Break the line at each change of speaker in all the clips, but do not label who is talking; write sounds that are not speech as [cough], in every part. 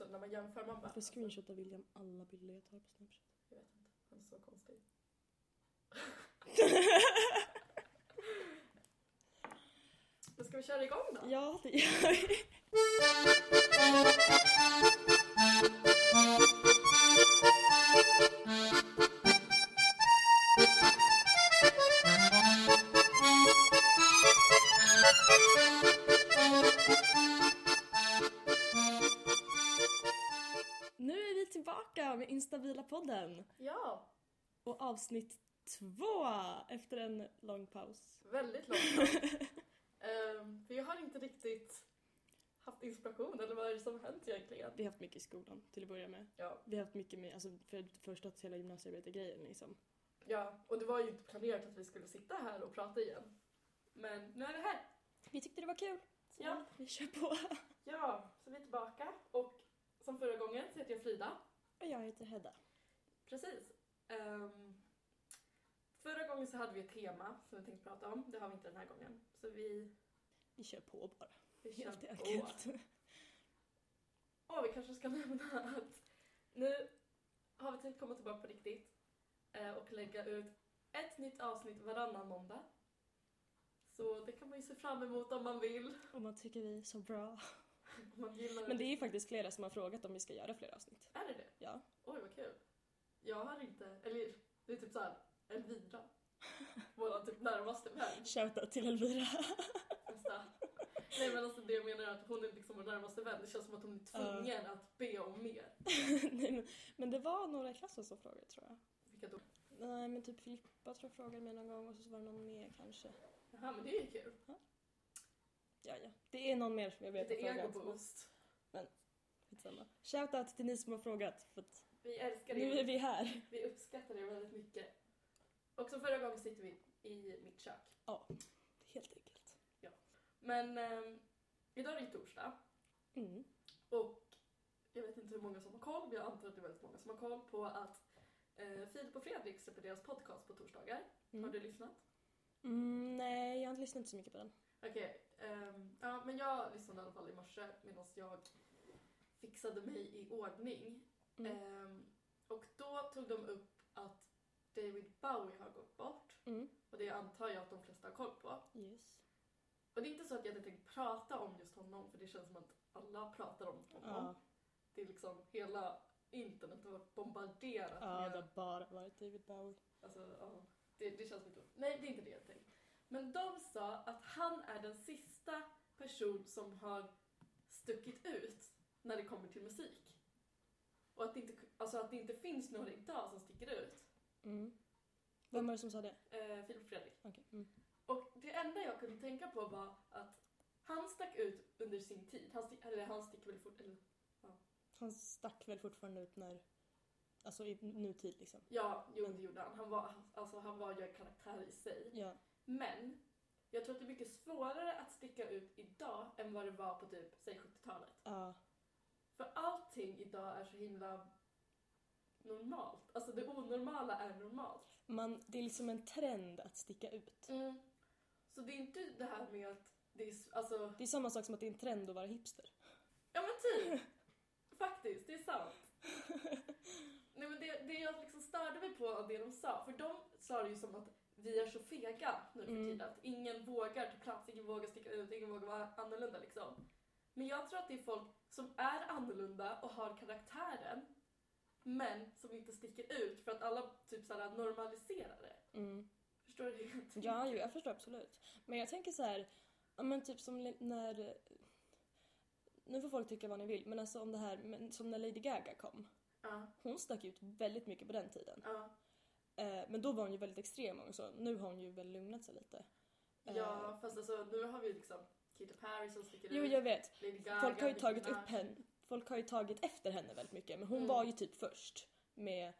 när man jämför. Man bara,
Varför screenshotar William alla bilder jag tar på Snapchat?
jag vet inte, han är så konstig. Men ska vi köra igång då?
Ja, det gör vi. Nu är vi tillbaka med Instabila-podden
Ja,
och avsnitt två efter en lång paus.
väldigt långt. um, för jag har inte riktigt haft inspiration eller vad är det som hänt egentligen?
Vi har haft mycket i skolan till att börja med.
Ja,
Vi har haft mycket med, alltså för första till hela gymnasiearbetargrejen liksom.
ja, och det var ju inte planerat att vi skulle sitta här och prata igen. Men nu är vi här.
Vi tyckte det var kul. Så
Ja.
vi kör på.
Ja, så vi är tillbaka och som förra gången så heter jag Frida.
Och jag heter Hedda.
Precis. Ehm, förra gången så hade vi ett tema som vi tänkte prata om. Det har vi inte den här gången. Så vi,
Vi kör på bara,
vi kör
helt
på.
enkelt.
Och vi kanske ska [laughs] nämna att nu har vi tänkt komma tillbaka på riktigt eh, och lägga ut ett nytt avsnitt varannan måndag. Så det kan man ju se fram emot om man vill. [laughs]
Om man tycker vi är så bra.
Om man gillar
Men det är ju faktiskt flera som har frågat om vi ska göra fler avsnitt.
Är det det?
Ja.
Oj, vad kul. Jag har inte... Eller det är typ såhär, Elvira. Vår typ närmaste vän.
Shoutout till Elvira.
Nästa. Nej men alltså det jag menar är att hon är liksom vår närmaste vän. Det känns som att hon är tvungen att be om mer.
[laughs] Nej, men, men det var några i klassen som frågade tror jag.
Vilket då?
Nej men typ Filippa tror jag frågade mig någon gång och så var det någon mer kanske.
Jaha men det är ju kul.
Ja ja, det är någon mer som jag vet
Lite
har frågat. men
egoboost.
Skitsamma. Shoutout till ni som har frågat för att
Vi älskar
nu är
er.
vi här.
Vi uppskattar er väldigt mycket. Och som förra gången sitter vi i mitt kök.
Helt enkelt.
Men ehm, idag är det ju torsdag
Mm.
och jag vet inte hur många som har koll men jag antar att det är väldigt många som har koll på att eh, Filip och Fredrik släpper deras podcast på torsdagar.
Mm.
Har du lyssnat?
Mm, nej, jag har inte lyssnat så mycket på den.
Okej, ehm, ja, men jag lyssnade i alla fall i morse medan jag fixade mig i ordning.
Mm.
Ehm, och då tog de upp att David Bowie har gått bort
Mm.
och det antar jag att de flesta har koll på.
Yes.
Och det är inte så att jag hade tänkt prata om just honom för det känns som att alla pratar om honom.
Ja,
Det är liksom hela internet har varit bombarderat
ja,
med
det har bara varit David Bowie.
Alltså, ja. det, det känns lite... Nej, det är inte det jag tänkt. Men de sa att han är den sista person som har stuckit ut när det kommer till musik. Och att det inte, alltså att det inte finns några idag som sticker ut.
Mm. Vem var det som sa det?
Eh, Filip och Fredrik.
Okej. Mm.
Och det enda jag kunde tänka på var att han stack ut under sin tid. Han, stick, eller han sticker väl fort, eller,
Han stack väl fortfarande ut när... Alltså i nutid liksom.
Ja, jo det gjorde han. Han var, alltså, han var ju en karaktär i sig.
Ja.
Men jag tror att det är mycket svårare att sticka ut idag än vad det var på typ, säg 70-talet.
ja.
För allting idag är så himla normalt. Alltså det onormala är normalt.
Man, det är liksom en trend att sticka ut.
Så det är inte det här med att det är, s- alltså,
Det är samma sak som att det är en trend att vara hipster.
ja men typ! Faktiskt, det är sant. Nej men det, det jag liksom störde mig på av det de sa, för de sa det ju som att vi är så fega nu för
Mm.
tiden att ingen vågar ta plats, ingen vågar sticka ut, ingen vågar vara annorlunda liksom. Men jag tror att det är folk som är annorlunda och har karaktären men som inte sticker ut för att alla typ såhär normaliserar det.
Mm.
Förstår du hur jag tänker?
Ja, jo, jag förstår absolut. Men jag tänker så här, ja, men typ som li- när... Nu får folk tycka vad ni vill, men alltså om det här, men som när Lady Gaga kom.
Ja,
Hon stack ut väldigt mycket på den tiden.
ja.
Eh, men då var hon ju väldigt extrem och så. Nu har hon ju väl lugnat sig lite. Eh,
ja fast alltså nu har vi liksom Katy Perry som sticker
Jo,
ut,
jag vet.
Lady Gaga,
Folk har ju
Nicki
tagit
Minaj.
upp henne. Folk har ju tagit efter henne väldigt mycket. Men hon
Mm.
var ju typ först med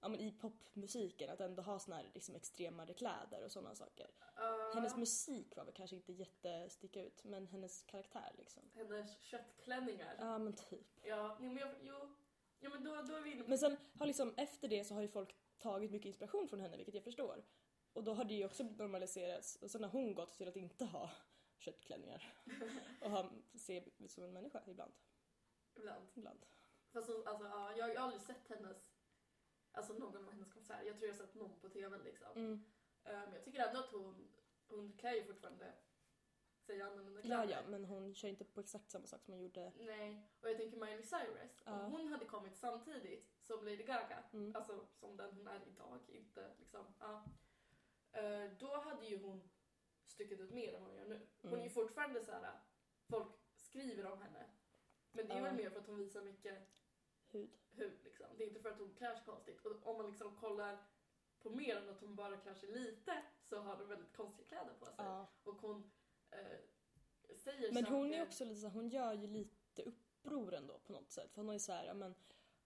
ja, men i popmusiken att ändå ha såna här liksom, extremare kläder och sådana saker.
Ja.
Hennes musik var väl kanske inte jättesticka ut, men hennes karaktär liksom.
hennes köttklänningar.
Ja men typ.
Ja, nej, men jag, jo. Ja, men då, då är vi inne på...
Men sen har liksom efter det så har ju folk tagit mycket inspiration från henne, vilket jag förstår. Och då har det ju också normaliserats. Och sen har hon gått till att inte ha köttklänningar och ha, se ut som en människa ibland.
ibland.
ibland.
Fast hon, alltså, ja, jag har ju aldrig sett hennes, alltså någon av hennes konserter. Jag tror jag har sett någon på tvn liksom.
Mm.
Eh, Men jag tycker ändå att hon, hon klär ju fortfarande sig annorlunda
Ja, ja, men hon kör inte på exakt samma sak som hon gjorde.
Nej, och jag tänker Miley Cyrus,
Ja.
om hon hade kommit samtidigt som Lady Gaga,
Mm.
alltså som den hon är idag, inte liksom, ja. Eh, Då hade ju hon stuckit ut mer än vad hon gör nu. Hon är ju
Mm.
fortfarande så här, folk skriver om henne. Men det är
Ja.
väl mer för att hon visar mycket
Hud.
hud liksom. Det är inte för att hon klär sig konstigt. Och om man liksom kollar på mer än att hon bara klär sig lite så har hon väldigt konstiga kläder på sig.
Ja.
Och hon eh, säger
Men hon
saker-
är också lite så här, hon gör ju lite uppror ändå på något sätt. För hon har ju så här, ja, men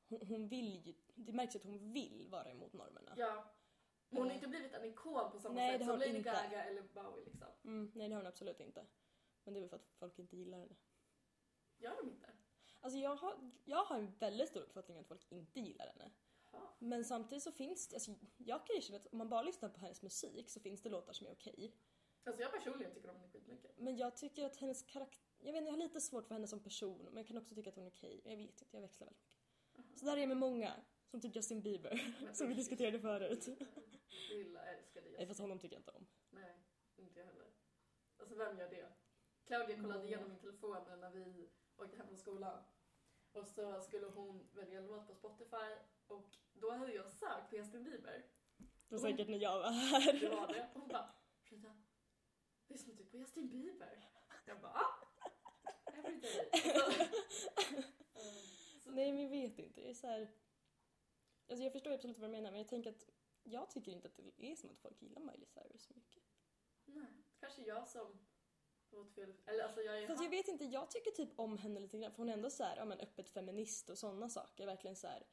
hon, hon vill ju, det märks att hon vill vara emot normerna.
Ja. Men hon har inte blivit en ikon på samma
Mm. Nej, det
sätt
har
som
hon
Lady
inte.
Gaga eller Bowie liksom.
Mm, nej det har hon absolut inte. Men det är väl för att folk inte gillar henne.
Gör de inte?
Alltså jag har, jag har en väldigt stor uppfattning att folk inte gillar henne.
Ja.
Men samtidigt så finns det, alltså jag kan ju känna att om man bara lyssnar på hennes musik så finns det låtar som är okej.
Alltså jag personligen tycker om henne skitmycket.
Men jag tycker att hennes karaktär, jag vet inte, jag har lite svårt för henne som person men jag kan också tycka att hon är okej. Jag vet inte, jag växlar väldigt mycket. Så där är jag med många, som typ Justin Bieber, [laughs]
Men-
som vi diskuterade förut.
Lilla älskade
Nej
jag.
fast honom tycker jag inte om.
Nej, inte jag heller. Alltså vem gör det? Claudia kollade
Mm.
igenom min telefon när vi åkte hem från skolan. Och så skulle hon välja en låt på Spotify och då hade jag sökt på Justin Bieber.
Det
Hon-
var säkert när jag var
Det
här.
var det. Hon bara Frida, lyssnar du på Justin Bieber? Jag bara "Ah, "Ja." Every day. [laughs] Så,
[laughs] Nej men jag vet inte, jag är så här... Alltså jag förstår absolut vad du menar men jag tänker att jag tycker inte att det är som att folk gillar Miley Cyrus så mycket.
nej, kanske jag som var åt fel... Eller alltså jag är
Fast jag vet inte, jag tycker typ om henne lite grann för hon är ändå så här, ja men öppet feminist och sådana saker. Verkligen så här, ja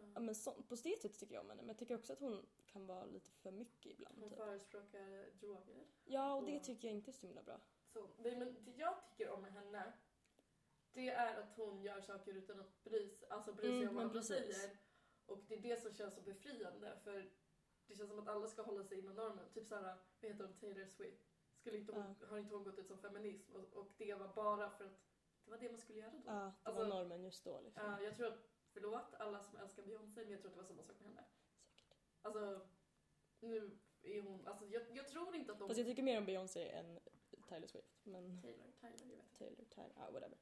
Mm.
men sånt. På det sättet tycker jag om henne men jag tycker också att hon kan vara lite för mycket ibland.
Hon Mm.
Typ.
förespråkar droger.
Ja och det tycker jag inte är så himla bra.
Så, nej, men det jag tycker om med henne det är att hon gör saker utan att bry, sig- alltså bry sig
Mm,
om
men
vad andra
precis.
säger. Och det är det som känns så befriande för det känns som att alla ska hålla sig inom normen. Typ såhär, vad heter hon, Taylor Swift. Skulle inte hon, Har inte hon gått ut som feminism och, och det var bara för att det var det man skulle göra då.
Ja, det
Alltså-
var normen just då liksom.
Ja, jag tror att, förlåt alla som älskar Beyoncé men jag tror att det var samma sak med henne.
Säkert.
Alltså, nu är hon, alltså jag, jag tror inte att de...
Fast jag tycker mer om Beyoncé än Taylor Swift. Men [laughs]
Taylor, Taylor, jag vet inte.
Taylor, Taylor, ah, whatever.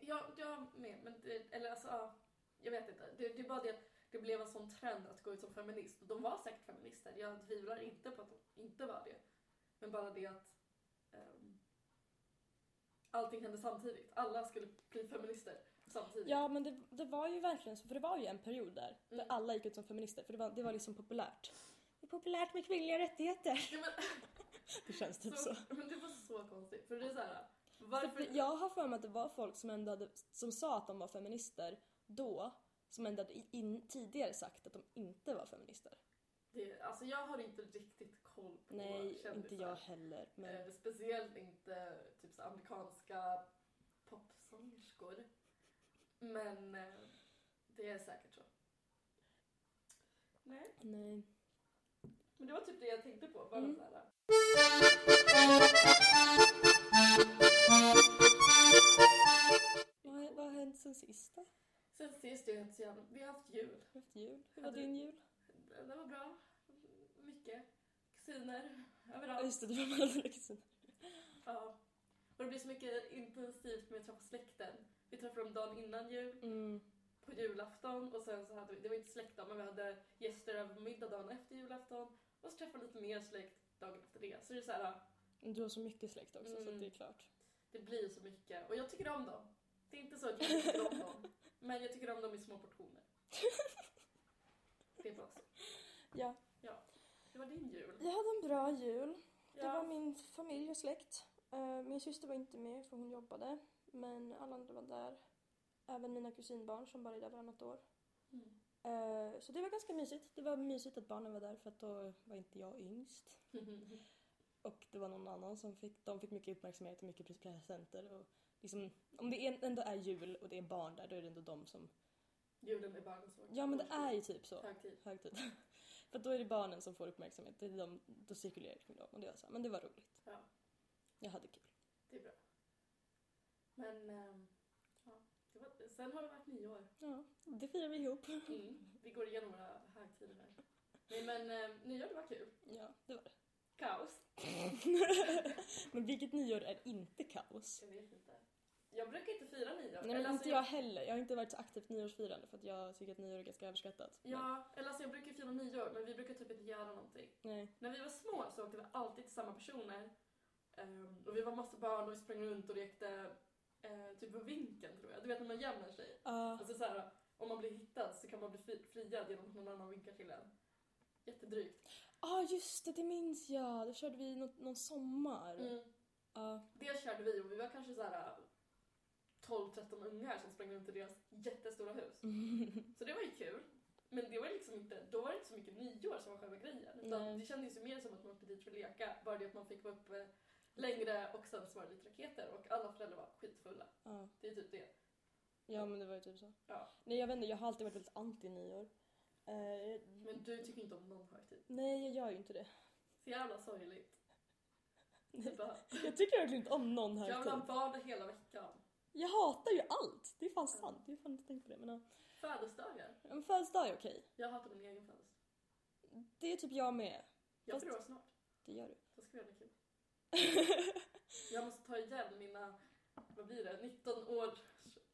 Ja, jag med. Men det, eller alltså, ja, jag vet inte. Det, det är bara det att det blev en sån trend att gå ut som feminist. Och de var säkert feminister. Jag tvivlar inte på att de inte var det. Men bara det att ehm, allting hände samtidigt. Alla skulle bli feminister samtidigt.
Ja men det, det var ju verkligen så, för det var ju en period där,
Mm.
där alla gick ut som feminister för det var, det var liksom populärt. Det är populärt med
[laughs]
kvinnliga rättigheter.
Ja,
Det känns
men,
[laughs] typ så.
så, men det var så konstigt. För det är så här,
För
varför...
att Jag har för mig att det var folk som ändå hade, som sa att de var feminister då, som ändå hade i- in, tidigare sagt att de inte var feminister.
Det, alltså jag har inte riktigt koll på
Nej, inte
kändisar.
jag heller. Men
Eh, speciellt inte typ så amerikanska popsångerskor. Men eh, det är säkert så. Nej.
nej.
Men det var typ det jag tänkte på. Bara
Mm.
så här.
Vad, vad har hänt sen sist då?
Sen sist jag inte så jävla... Vi har haft jul.
Har du haft jul? Hur var
Hade-
din jul?
Det var bra. Mycket. Kusiner.
Ja
Överallt.
just det, du var med alla dina kusiner.
Ja. Och det blir så mycket intensivt med att träffa släkten. Vi träffade dem dagen innan jul,
Mm.
på julafton och sen så hade vi, det var inte släktdag men vi hade gäster över middag dagen efter julafton och så träffade vi lite mer släkt dagen efter det. Så det är så här,
Men Mm, Du har så mycket släkt också så
Mm.
att det är klart.
det blir så mycket och jag tycker om dem. Det är inte så att jag inte tycker om
[laughs]
dem, men jag tycker om dem i små portioner. Det är bara så.
Ja.
Det var din jul.
Jag hade en bra jul. Det var
Ja.
min familj och släkt. Eh, Min syster var inte med för hon jobbade. Men alla andra var där. Även mina kusinbarn som bara är där varannat år.
Mm.
Eh, Så det var ganska mysigt. Det var mysigt att barnen var där för att då var inte jag yngst.
Mm. [laughs]
Och det var någon annan som fick, de fick mycket uppmärksamhet och mycket presenter. Och liksom, om det en- ändå är jul och det är barn där då är det ändå de som...
Julen är barnens
Ja men det är ju typ så.
högtid.
Högtid. [laughs] för att då är det barnen som får uppmärksamhet. Det är de, då cirkulerar det kring dem. Och det var så här, men det var roligt.
Ja.
Jag hade kul.
Det är bra. Men ehm, ja, det var var- sen har det varit nio år.
Ja, det firar vi ihop.
Mm. Vi går igenom våra högtider här. Nej men eh, nyår det var kul.
Ja, det var det. [laughs]
Kaos.
Men vilket nyår är inte kaos?
Jag vet inte. Jag brukar inte fira nyår.
Nej
Eller
men
alltså,
inte jag heller. Jag har inte varit så aktivt nyårsfirande för att jag tycker att nyår är ganska överskattat. Men-
Ja, eller alltså jag brukar fira nyår men vi brukar typ inte göra någonting.
Nej.
När vi var små så åkte vi alltid till samma personer. Ehm, och vi var massa barn och vi sprang runt och lekte eh, typ på vinkeln tror jag. Du vet när man gömmer sig.
Ja,
Alltså så här, om man blir hittad så kan man bli fri- friad genom att någon annan vinkar till en. Jättedrygt.
ah, just det, det minns jag. Då körde vi något, någon sommar.
Mm.
Ja, [laughs]
Det körde vi och vi var kanske så här 12-13 ungar som sprang runt i deras jättestora hus. Så det var ju kul. Men det var liksom inte, då var det inte så mycket nyår som var själva grejen. Utan
Nej.
det kändes ju mer som att man åkte dit för att leka. Bara det att man fick vara uppe längre och sen så var det lite raketer och alla föräldrar var skitfulla.
ja.
Det är typ det.
ja, men det var ju typ så.
Ja.
Nej, jag vet inte. Jag har alltid varit väldigt anti nyår. Eh,
Men du tycker inte om någon högtid.
nej, jag gör ju inte det. [laughs]
Så jävla sorgligt.
Nej.
Jag bara,
Jag tycker verkligen inte om någon
Jag vill
högtid.
ha vardag hela veckan.
Jag hatar ju allt! Det är fan sant. Jag har fan inte tänkt på det. Men, ja.
Födelsedagar.
en födelsedag är okej.
Jag hatar min egen födelsedag.
Det är typ jag med.
Jag
Fast-
förlorar snart.
Det gör du.
Då ska vi göra det kul. Jag måste ta igen mina, vad blir det, 19 års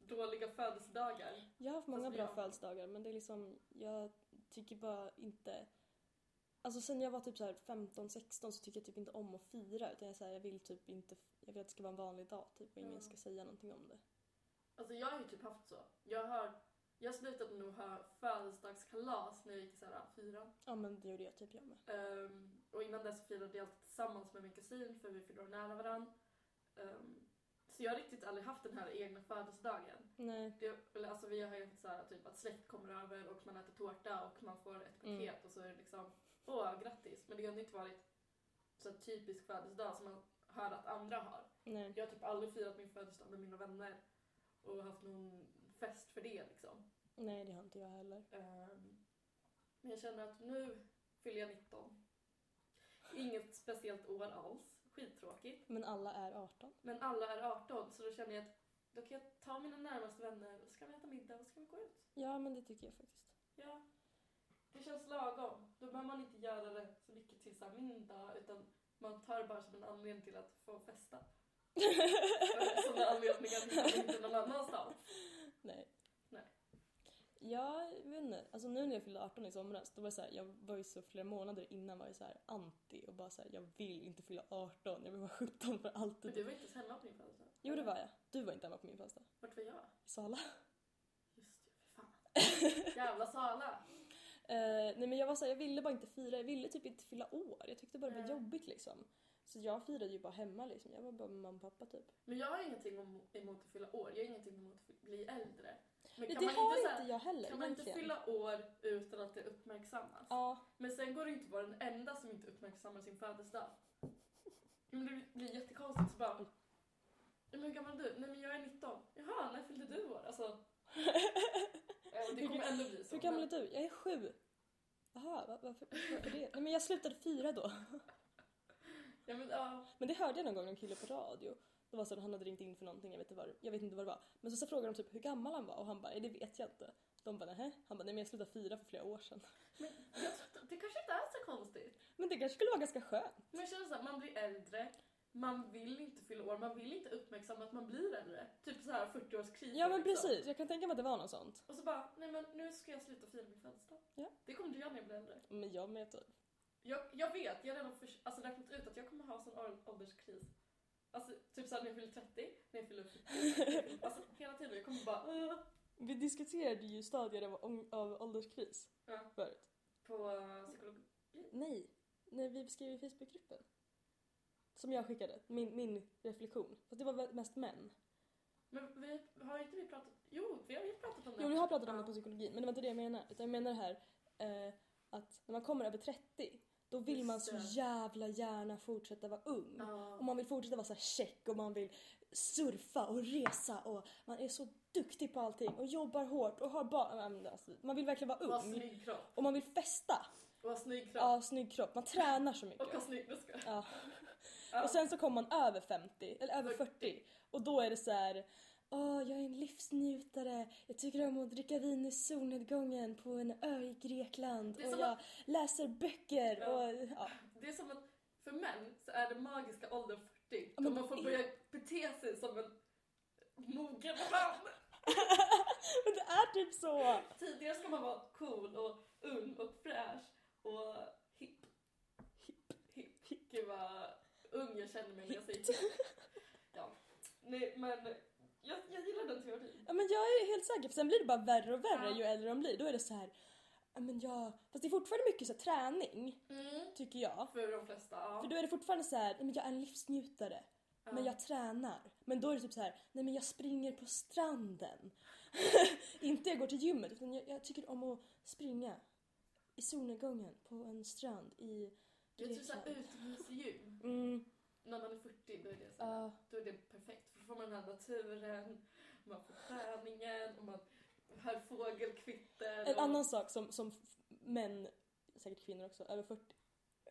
dåliga födelsedagar.
Jag har haft många
Fast vi
bra
har-
födelsedagar men det är liksom, jag tycker bara inte... Alltså sen jag var typ så här 15-16 så tycker jag typ inte om att fira utan jag, så här, jag vill typ inte, jag vill att det ska vara en vanlig dag typ och ingen
Ja.
ska säga någonting om det.
Alltså jag har ju typ haft så. Jag har jag slutade nog ha födelsedagskalas när jag gick i så här fyran.
Ja men det gjorde jag typ jag med.
Ehm, och innan dess firade jag alltid tillsammans med min kusin för vi fyllde år nära varandra. så jag har riktigt aldrig haft den här egna födelsedagen.
Nej.
Det, eller, alltså, vi har ju haft så här, typ att släkt kommer över och man äter tårta och man får ett paket
Mm.
och så är det liksom åh grattis. Men det har ju inte varit så här typisk födelsedag som man hör att andra har.
Nej.
Jag har typ aldrig firat min födelsedag med mina vänner och haft någon fest för det liksom.
Nej det har inte jag heller.
Ehm, Men jag känner att nu fyller jag 19. Inget speciellt år alls. Skittråkigt.
Men alla är 18.
Men alla är 18 så då känner jag att då kan jag ta mina närmaste vänner och så kan vi äta middag och så kan vi gå ut.
Ja men det tycker jag faktiskt.
Ja. Det känns lagom. Då behöver man inte göra det så mycket till så här min dag utan man tar det bara som en anledning till att få festa. Sådana anledningar finns inte någon annanstans.
Nej.
Nej.
Jag vet inte, alltså nu när jag fyllde 18 i somras, då var det så här, jag var ju så flera månader innan var jag så här anti och bara så här, jag vill inte fylla 18, jag vill vara 17 för
Men
alltid.
du var inte ens hemma på din födelsedag.
Jo det var jag, du var inte hemma på min födelsedag.
Vart var jag?
I Sala.
Just det, för fan. Jävla Sala.
Eh, nej men jag var så här, jag ville bara inte fira, jag ville typ inte fylla år, jag tyckte bara det var
Nej.
jobbigt liksom. Så jag firade ju bara hemma liksom, jag var bara med mamma och pappa typ.
Men jag har ingenting om- emot att fylla år. Jag har ingenting emot att fy- bli äldre. Men
Nej,
kan
det
man
har
inte, så
inte
här,
jag heller
kan man inte
egentligen.
fylla år utan att det uppmärksammas?
Ja,
Men sen går det inte att vara den enda som inte uppmärksammar sin födelsedag. Men det blir jättekonstigt. Så bara,
Oj.
men hur gammal är du? Nej men jag är 19. Jaha, när fyllde du år? Alltså,
[laughs]
eh, och det kommer ändå bli så.
hur gammal är
men-
du? Jag är sju. Jaha, va- varför, varför det? Nej men jag slutade fira då.
Ja, men, ja.
Men det hörde jag någon gång en kille på radio. Det var så att han hade ringt in för någonting, jag vet inte vad, det- jag vet inte vad det var. Men så, så frågade de typ hur gammal han var och han bara, "Nej, det vet jag inte. De bara, nähä? Han bara, nej men jag slutade fira för flera år sedan.
Jag tror- det kanske inte är så konstigt.
Men det kanske skulle vara ganska skönt.
Men jag känner såhär, man blir äldre, man vill inte fylla år, man vill inte uppmärksamma att man blir äldre. Typ så här 40-årskrisen.
Ja men
liksom.
precis, jag kan tänka mig att det var något sånt.
Och så bara, nej men nu ska jag sluta fira min födelsedag.
Ja.
Det kommer du göra när jag blir äldre.
Men jag med typ.
Jag, jag vet, jag har redan för, alltså räknat ut att jag kommer ha sån ål- ålderskris. Alltså typ såhär när jag fyller 30, när jag fyller
[laughs]
40. alltså hela tiden, jag kommer bara "Åh."
Vi diskuterade ju stadier av, ång- av ålderskris
Ja.
förut.
på eh, psykolog...
Nej, när vi beskrev i Facebookgruppen. Som jag skickade, min, min reflektion. Fast det var väl mest män.
Men vi, har inte vi pratat... Jo, vi har ju pratat om det.
Jo, vi har pratat om det på psykologin, men det var inte det jag menade. Utan jag menar det här eh, att när man kommer över 30, då vill
Just
man så
det.
jävla gärna fortsätta vara ung.
Ja.
Och man vill fortsätta vara så här check och man vill surfa och resa och man är så duktig på allting och jobbar hårt och har barn. Ja, men Alltså, man vill verkligen
Och ha
vara ung.
snygg kropp.
Och man vill festa.
Och ha snygg kropp.
Ja, snygg kropp. Man tränar så mycket.
Och ha snygg... Jag skojar.
Ja.
Ja.
Och sen så kommer man över 50, eller över 40 och då är det så här. Åh, jag är en livsnjutare. Jag tycker om att dricka vin i solnedgången på en ö i Grekland.
Det är
Och
som
jag läser böcker
Ja.
och ja. [laughs]
Det är som att för män så är den magiska åldern 40. Då
Ja, men
man får
det-
börja bete sig som en mogen man.
Men det är typ så!
Tidigare ska man vara cool och ung och fräsch och hipp. Hipp. Hipp. Gud vad ung jag känner mig när jag säger hipp. Ja. Nej, men jag, jag gillar den teorin.
Ja, men jag är helt säker, för sen blir det bara värre och värre
Ja.
ju äldre de blir. Då är det så här, ja, men jag... Fast det är fortfarande mycket så här, träning, tycker jag.
För de flesta, ja.
Mm. För då är det fortfarande så här, "Nej, men jag är en livsnjutare.
Ja.
Men jag tränar. Men då är det typ så här, nej men jag springer på stranden. [laughs] inte jag går till gymmet, utan jag, jag tycker om att springa i solnedgången på en strand i
Jag tror såhär
Grekland.
utomhusgym,
Mm,
när man är 40, då är det så här,
ja.
då är det perfekt. För då får man den här naturen, man får träningen och man hör fågelkvitter.
En
och-
annan sak som, som f- män, säkert kvinnor också, över 40 [laughs]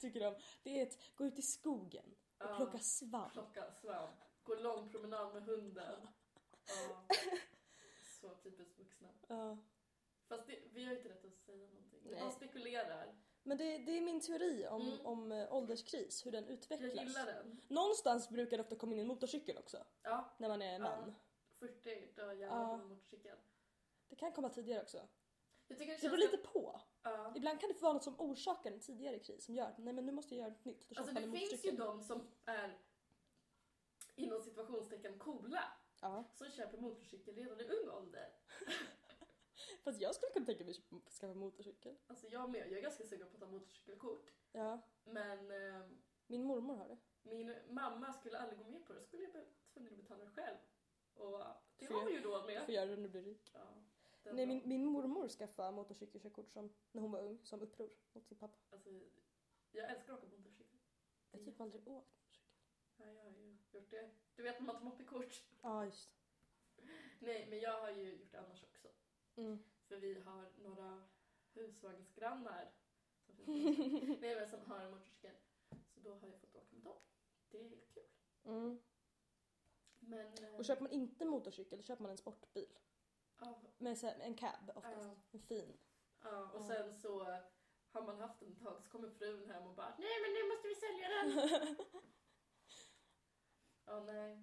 tycker om, det är att gå ut i skogen och
Ja.
plocka svamp.
plocka svamp, gå lång promenad med hunden.
[laughs]
Ja. Så typiskt vuxna.
Ja.
Fast det, vi har ju inte rätt att säga någonting.
Nej.
Man spekulerar.
Men det, det är min teori om,
Mm.
om eh, ålderskris, hur den
Jag
utvecklas.
gillar den.
Någonstans brukar det ofta komma in en motorcykel också,
Ja,
när man är man.
40, då jävlar
Ja.
på motorcykeln.
Det kan komma tidigare också.
Jag tycker det
Det
känns...
beror lite på.
ja.
Ibland kan det vara något som orsakar en tidigare kris som gör att nej men nu måste jag göra något nytt. Då
Alltså
köper man
det
en
finns ju
motorcykel.
de som är inom situationstecken coola
Ja.
som köper motorcykel redan i ung ålder.
Fast jag skulle kunna tänka mig att skaffa en motorcykel.
Alltså jag med, jag är ganska sugen på att ta motorcykelkort.
Ja.
Men eh,
Min mormor har det.
Min mamma skulle aldrig gå med på det, skulle jag bli tvungen att betala själv. Och det
För-
har hon ju råd med.
Får göra det när du blir rik.
Ja, den
Nej
var-
min, min mormor skaffade motorcykelkörkort som, när hon var ung som uppror mot sin pappa.
alltså, jag älskar att åka motorcykel.
Jag har typ aldrig åkt motorcykel.
Ja, jag har ju gjort det. Du vet när man tar moppekort. [laughs]
Ja just
Nej, men jag har ju gjort det annars också.
det. Mm.
För vi har några husvagnsgrannar som,
[laughs]
finns- Nej, men som har en motorcykel. Så då har jag fått åka med dem. Det är kul.
Mm.
Men... eh,
Och köper man inte motorcykel då köper man en sportbil.
ja,
Med så här, en cab oftast.
Ja.
En fin.
Ja, och
Ja.
sen så har man haft den ett tag så kommer frun hem och bara Nej men nu måste vi sälja den!
[laughs]
ja, nej.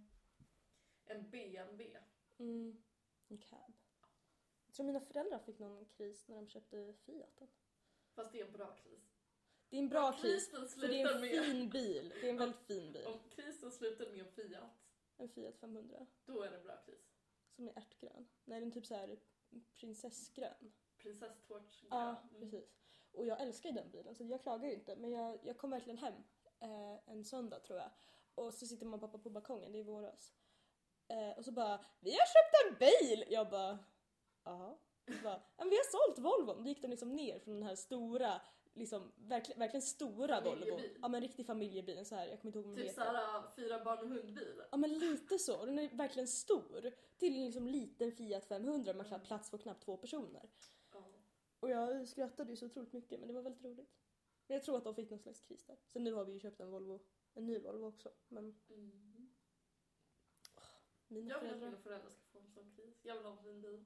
En BMW.
Mm. En cab. Jag tror mina föräldrar fick någon kris när de köpte Fiaten.
Fast det är en bra kris.
Det är en bra
Om
kris.
Krisen
För det är
slutar
en
med...
fin bil. Det är en väldigt fin bil.
Om krisen slutar med en Fiat,
En Fiat 500.
då är det en bra kris.
Som är ärtgrön. Nej, den är typ så här prinsessgrön.
Prinsesstårtsgrön.
Ja,
Mm.
precis. Och jag älskar ju den bilen så jag klagar ju inte. Men jag, jag kom verkligen hem eh, en söndag tror jag. Och så sitter man och pappa på balkongen, det är våras. Eh, och så bara “Vi har köpt en bil!” Jag bara “Jaha?” Och så bara, "Ja, men “Vi har sålt Volvon!” Då gick de liksom ner från den här stora, liksom verkligen, verkligen stora Volvo.
Familjebil.
Ja men riktig familjebil, en så här, jag kommer inte ihåg vad den
Typ
heter.
såhär fyra barn och hundbil.
Ja men lite så, Och den är verkligen stor. Till en liksom liten Fiat 500 man kan ha plats för knappt två personer.
Ja.
Och jag skrattade ju så otroligt mycket men det var väldigt roligt. Men jag tror att de fick någon slags kris där. Sen nu har vi ju köpt en Volvo, en ny Volvo också. Men
Mm.
mina
Jag vill att mina
föräldrar...
föräldrar ska få en sån kris. Jag vill ha en fin
[laughs]
bil.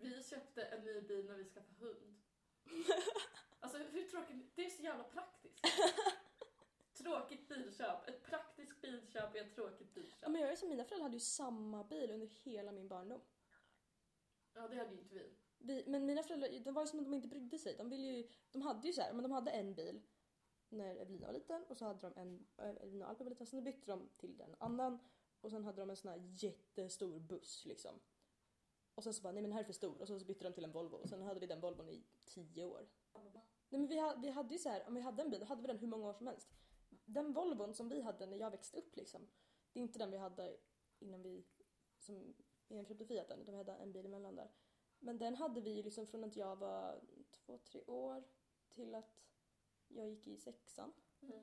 Vi köpte en ny bil när vi skaffade
[laughs]
hund. Alltså hur tråkigt, det är så jävla
[laughs]
praktiskt. Tråkigt bilköp. Ett praktiskt bilköp är ett tråkigt bilköp.
Ja men jag är som mina föräldrar hade ju samma bil under hela min barndom.
Ja det hade ju inte vi.
Vi, men mina föräldrar, det var ju som att de inte brydde sig. De ville ju, de hade ju så här, men de hade en bil när Evelina var liten och så hade de en, eh, Evelina och Albin var liten, sen bytte de till den annan och sen hade de en sån här jättestor buss liksom. Och sen så bara, nej men den här är för stor och sen så bytte de till en Volvo och sen hade vi den Volvon i tio år. Nej men vi, ha, vi hade ju så här, om vi hade en bil då hade vi den hur många år som helst. Den Volvon som vi hade när jag växte upp liksom, det är inte den vi hade innan vi, som, innan vi köpte Fiaten, utan vi hade en bil emellan där. Men den hade vi ju liksom från att jag var två, tre år till att jag gick i sexan.
Mm.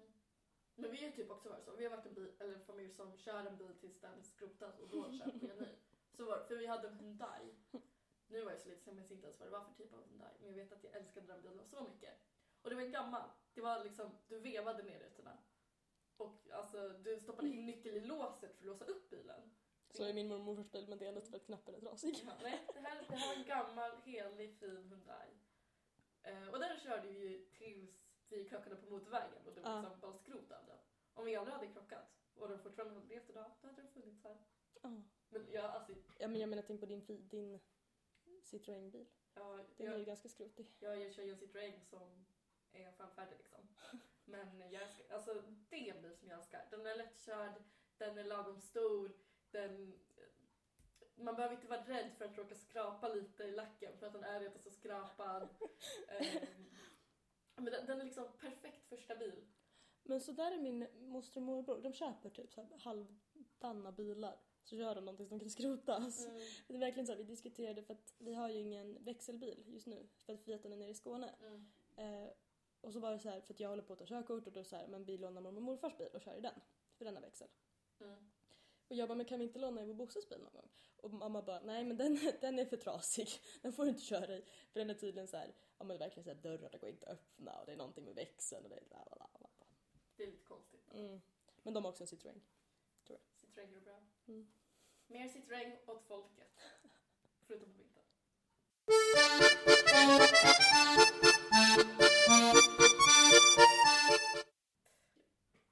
Men vi har typ också varit så. Vi har varit en, bil, eller en familj som kör en bil tills den skrotas och då köper vi en ny. Så var det, för vi hade en Hyundai. Nu var jag så liten så jag minns inte ens vad det var för typ av Hyundai. Men jag vet att jag älskade den bilen så mycket. Och det var en gammal. Det var liksom, du vevade ner rutorna. Och alltså, du stoppade in nyckeln i låset för att låsa upp bilen.
Så är min mormors bil men det är ändå för att knappen är trasig.
Ja, nej, det här, det här är en gammal, helig, fin Hyundai. Eh, och den körde vi ju tills vi krockade på motorvägen och det var
Ja.
liksom bara skrot av den. Om vi aldrig hade krockat och den fortfarande hade levt idag, då hade den funnits här.
Ja.
Men jag, alltså,
Ja men jag menar tänk på din, fi- din Citroën-bil.
jag,
Den är ju
jag,
ganska skrotig.
jag, jag kör ju en Citroën som är framfärdig liksom. Men jag älskar, alltså det är en bil som jag älskar. Den är lättkörd, den är lagom stor, den... Man behöver inte vara rädd för att råka skrapa lite i lacken för att den är redan så skrapad. Ehm, men den, den är liksom perfekt första bil.
Men så där är min moster och morbror. De köper typ så här halvdana bilar. Så gör de någonting som kan skrotas.
Mm,
Det är verkligen så här, vi diskuterade för att vi har ju ingen växelbil just nu. För att Fiaten är nere i Skåne.
mm,
Eh, och så var det så här, för att jag håller på att ta körkort och då så här, men vi lånar mormor och morfars bil och kör i den. För den har växel.
mm.
Och jag bara, men kan vi inte låna i vår Bosses bil någon gång? Och mamma bara, nej men den, [laughs] den är för trasig. Den får du inte köra i. För den är tydligen så här, ja men verkligen så här, dörrarna går inte att öppna och det är någonting med växeln och det är bla bla bla. bla.
Det är lite konstigt.
Mm. Men de har också en Citroën.
Citroën går bra.
Mm.
Mer Citroën åt folket. [laughs] Förutom på vintern.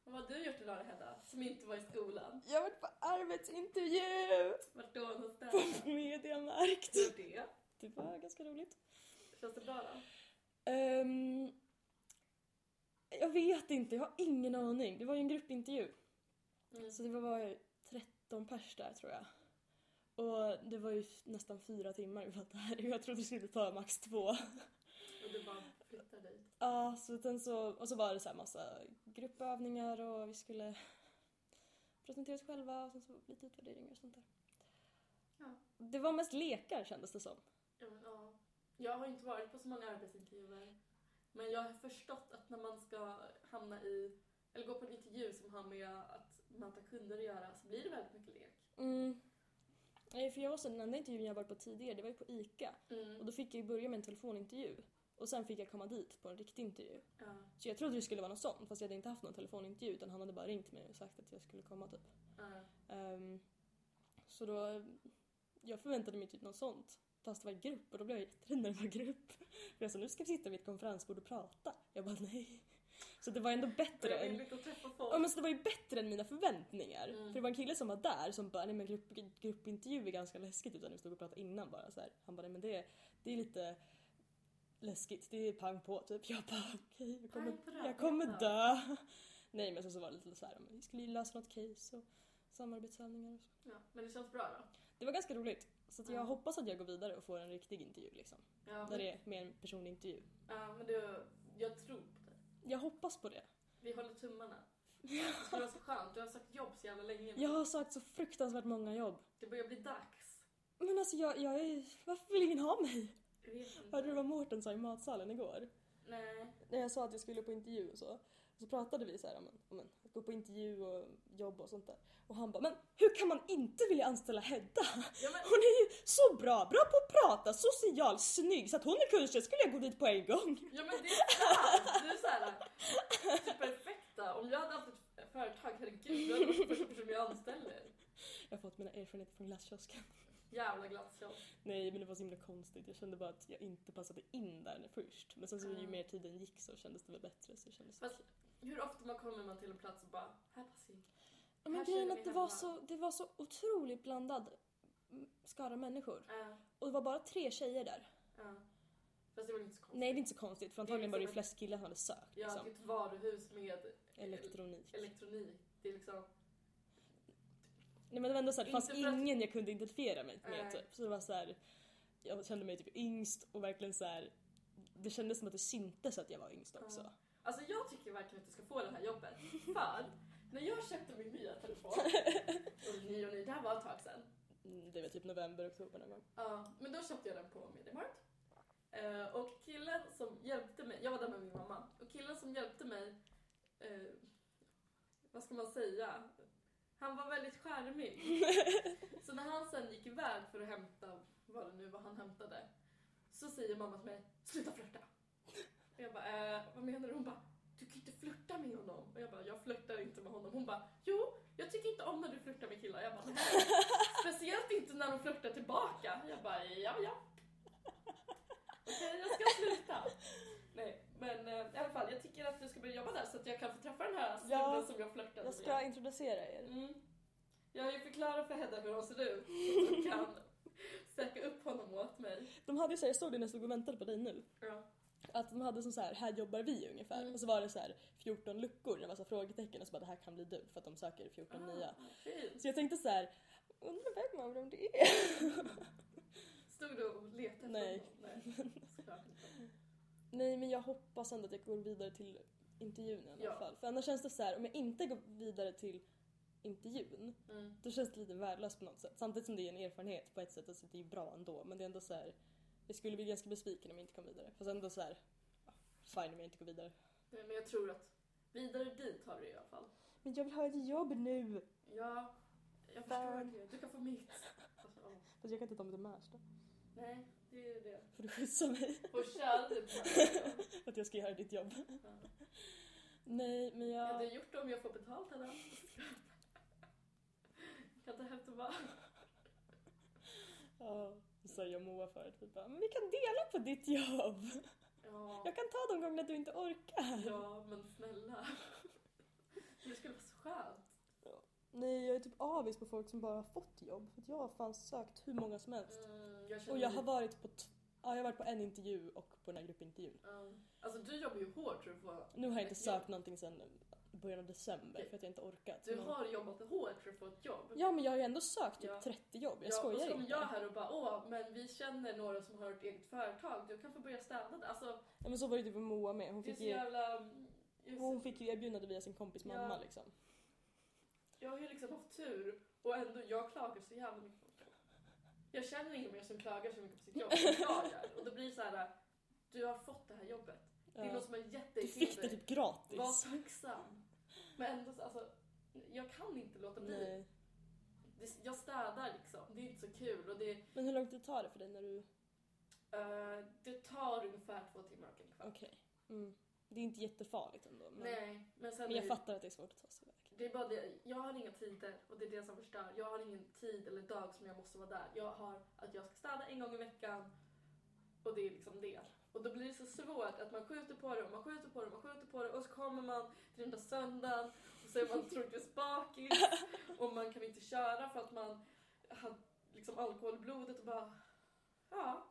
Vad har du gjort i lördag Hedda? Som inte var i skolan?
Jag har varit på arbetsintervju!
Vart då någonstans?
På Mediamarkt.
Hur är det?
Det var ganska roligt.
Känns det bra då?
Ehm, jag vet inte, jag har ingen aning. Det var ju en gruppintervju.
Mm.
Så det var bara 13 pers där tror jag. Och det var ju f- nästan fyra timmar vi var där [laughs] och jag trodde det skulle ta max två.
Och du bara flyttar dit?
Ja, så sen så, och så var det så här massa gruppövningar och vi skulle presentera oss själva och sen så lite utvärderingar och sånt där.
Ja.
Det var mest lekar kändes det som.
Ja, men, ja. Jag har inte varit på så många arbetsintervjuer. Men jag har förstått att när man ska hamna i, eller gå på en intervju som har med att möta kunder att göra så blir det väldigt mycket lek.
Mm. Nej, för jag var så, den enda intervjun jag varit på tidigare det var ju på ICA och
Mm.
då fick jag ju börja med en telefonintervju och sen fick jag komma dit på en riktig intervju.
Ja,
Så jag trodde det skulle vara något sånt fast jag hade inte haft någon telefonintervju utan han hade bara ringt mig och sagt att jag skulle komma typ.
ja.
Ehm, så då, jag förväntade mig typ något sånt. Fast det var grupp och då blev jag jätterädd när det var grupp. [laughs] För jag sa nu ska vi sitta vid ett konferensbord och prata. Jag bara nej. Så det var ändå bättre
Jag
än
vill inte träffa
Ja,
folk.
men så det var ju bättre än mina förväntningar.
Mm.
För det var en kille som var där som bara, nej men grupp, gruppintervju är ganska läskigt utan vi stod och pratade innan bara så här. Han bara, nej men det, det är lite läskigt, det är pang på typ. Jag bara, okej jag kommer,
Pang på
jag kommer
rödbetan.
dö. Nej men sen så var det lite så här, vi skulle ju lösa något case och samarbetsövningar och så.
Ja, men det känns bra då.
Det var ganska roligt. Så att jag
Mm.
hoppas att jag går vidare och får en riktig intervju liksom.
Ja,
Där
men,
det är mer en personlig intervju.
ja, men du, jag tror på dig.
Jag hoppas på det.
Vi håller tummarna. Det skulle vara så skönt. Du har sökt jobb så jävla länge. nu.
Jag har sökt så fruktansvärt många jobb.
Det börjar bli dags.
Men alltså jag, jag är, varför vill ingen ha mig?
Jag vet inte.
Hörde du vad Mårten sa i matsalen igår?
Nej.
När jag sa att jag skulle på intervju och så. Så pratade vi så här om, en, om en, att gå på intervju och jobb och sånt där. Och han bara, men hur kan man inte vilja anställa Hedda?
Ja, men,
Hon är ju så bra, bra på att prata, social, snygg. Så att hon är kunskap skulle jag gå dit på en gång.
Ja men det är sant! Du är såhär, typ perfekta. Om jag hade haft ett företag, herregud, du hade varit första person jag anställer.
Jag har fått mina erfarenheter från glasskiosken.
Jävla glasskiosk.
Nej men det var så himla konstigt. Jag kände bara att jag inte passade in där först. Men sen så ju
Mm.
mer tiden gick så kändes det väl bättre. Så kändes det.
Fast hur ofta man kommer man till en plats och bara, här passar jag.
Ja, Men
Här
grejen
känner
att
vi
det var,
hemma.
så, det var så otroligt blandad mm, skara människor.
Uh,
Och det var bara tre tjejer där.
Fast det var inte så konstigt.
Nej det är inte så konstigt för antagligen var det ju flest killar som hade sökt.
Jag har
Liksom.
ett varuhus med
Elektronik.
elektronik. Det är liksom,
Nej men det var ändå såhär, det fanns
Inte för att-
ingen jag kunde identifiera mig
Nej.
med typ. Så det var såhär, jag kände mig typ yngst och verkligen såhär, det kändes som att det syntes att jag var yngst också.
Ja. alltså jag tycker verkligen att du ska få det här jobbet. För när jag köpte min nya
[laughs]
telefon, och ny och ny, det här var ett tag sedan.
Mm, Det var typ november, oktober någon gång.
Ja, men då köpte jag den på Mediamarkt. Eh, och killen som hjälpte mig, jag var där med min mamma, och killen som hjälpte mig, eh, vad ska man säga, han var väldigt charmig. så när han sen gick iväg för att hämta vad det nu var han hämtade, så säger mamma till mig, sluta flörta. Och jag bara, eh, vad menar du? Hon bara, du kan inte flörta med honom. Och jag bara, jag flörtar inte med honom. Hon bara, jo, jag tycker inte om när du flörtar med killar. Jag bara, nej. Speciellt inte när de flörtar tillbaka. Jag bara, ja, ja. Okej, jag ska sluta. Nej, men eh, i alla fall, jag tycker att du ska börja jobba där så att jag kan få träffa den här snubben
Ja,
som jag flörtade
Jag ska introducera er.
Mm. Jag har ju förklarat för Hedda hur hon ser ut så att hon
[laughs]
kan söka upp honom åt mig.
De hade ju såhär, jag såg det när jag stod och väntade på dig nu.
Ja.
Att de hade som så här, här jobbar vi ungefär.
Mm.
Och så var det så här 14 luckor, det var så här frågetecken och så bara det här kan bli du för att de söker 14 nya.
Ah, fint.
Så jag tänkte så här, undrar vem av dem det är?
Stod du och letade efter
Nej.
honom? Nej. såklart inte.
Nej men jag hoppas ändå att jag går vidare till intervjun i alla
Ja.
fall. För annars känns det så här, om jag inte går vidare till intervjun
Mm.
då känns det lite värdelöst på något sätt. Samtidigt som det är en erfarenhet på ett sätt, alltså det är bra ändå men det är ändå så här, jag skulle bli ganska besviken om jag inte kom vidare. Fast ändå så här, ja, fine om jag inte går vidare.
Nej, men jag tror att vidare dit har du i alla fall.
Men jag vill ha ett jobb nu!
Ja, jag
Fan.
förstår det. Du kan få mitt. Alltså, åh.
Fast jag kan inte ta mig till Märsta.
Nej, det är ju det.
Får du skjutsa mig? [laughs]
Och kör du på
För att jag ska göra ditt jobb.
Ja.
Nej men
Jag hade
jag...
gjort det om jag [laughs] får betalt eller? Kan ta hem tillbaka.
Ja, så sa jag och Moa förut, vi bara, typ. men vi kan dela på ditt jobb!
Ja.
Jag kan ta de gångerna du inte orkar.
[laughs] ja, men snälla. Det skulle vara så skönt.
Nej jag är typ avis på folk som bara har fått jobb. För att jag har fan sökt hur många som helst.
Mm, jag känner
Och jag har
lite-
varit på, t- ja, jag har varit på en intervju och på den här gruppintervjun.
Ja. Alltså du jobbar ju hårt för att få...
Nu har jag inte
Ett jobb.
sökt någonting sedan början av december för att jag inte orkat.
Du
Men-
har jobbat hårt för att få ett jobb.
Ja men jag har ju ändå sökt typ
Ja.
30 jobb, jag
och så
skojar
kommer
inte.
jag här och bara åh, men vi känner några som har ett eget företag, du kan få börja städa där. Alltså,
Ja, men så var det typ med Moa med, hon
det är
fick
så
ju
jävla... just-
Hon fick ju erbjudande via sin kompis
Ja.
mamma liksom.
Jag har ju liksom haft tur och ändå, jag klagar så jävla mycket på mitt jobb. Jag känner ingen mer som klagar så mycket på sitt jobb. Jag klagar. Och då blir det så här, du har fått det här jobbet. Det är
Ja.
någon som har gett
Du
dig
fick det typ gratis.
Var tacksam. Men ändå, så- alltså, jag kan inte låta bli.
Nej.
Det, jag städar liksom. Det är inte så kul. Och det,
Men hur lång tid tar det för dig när du...
eh, det tar ungefär två timmar och en kvart.
Okej. Mm. Det är inte jättefarligt ändå. Men,
Nej, men sen
men jag
är-
fattar att det är svårt att ta sig iväg.
Det är bara det, jag har inga tider och det är det som förstör. Jag har ingen tid eller dag som jag måste vara där. Jag har att jag ska städa en gång i veckan och det är liksom det. Och då blir det så svårt att man skjuter på det och man skjuter på det och man skjuter på det och så kommer man till den där söndagen och så är man troligtvis bakis och man kan inte köra för att man har liksom alkohol i blodet och bara ja,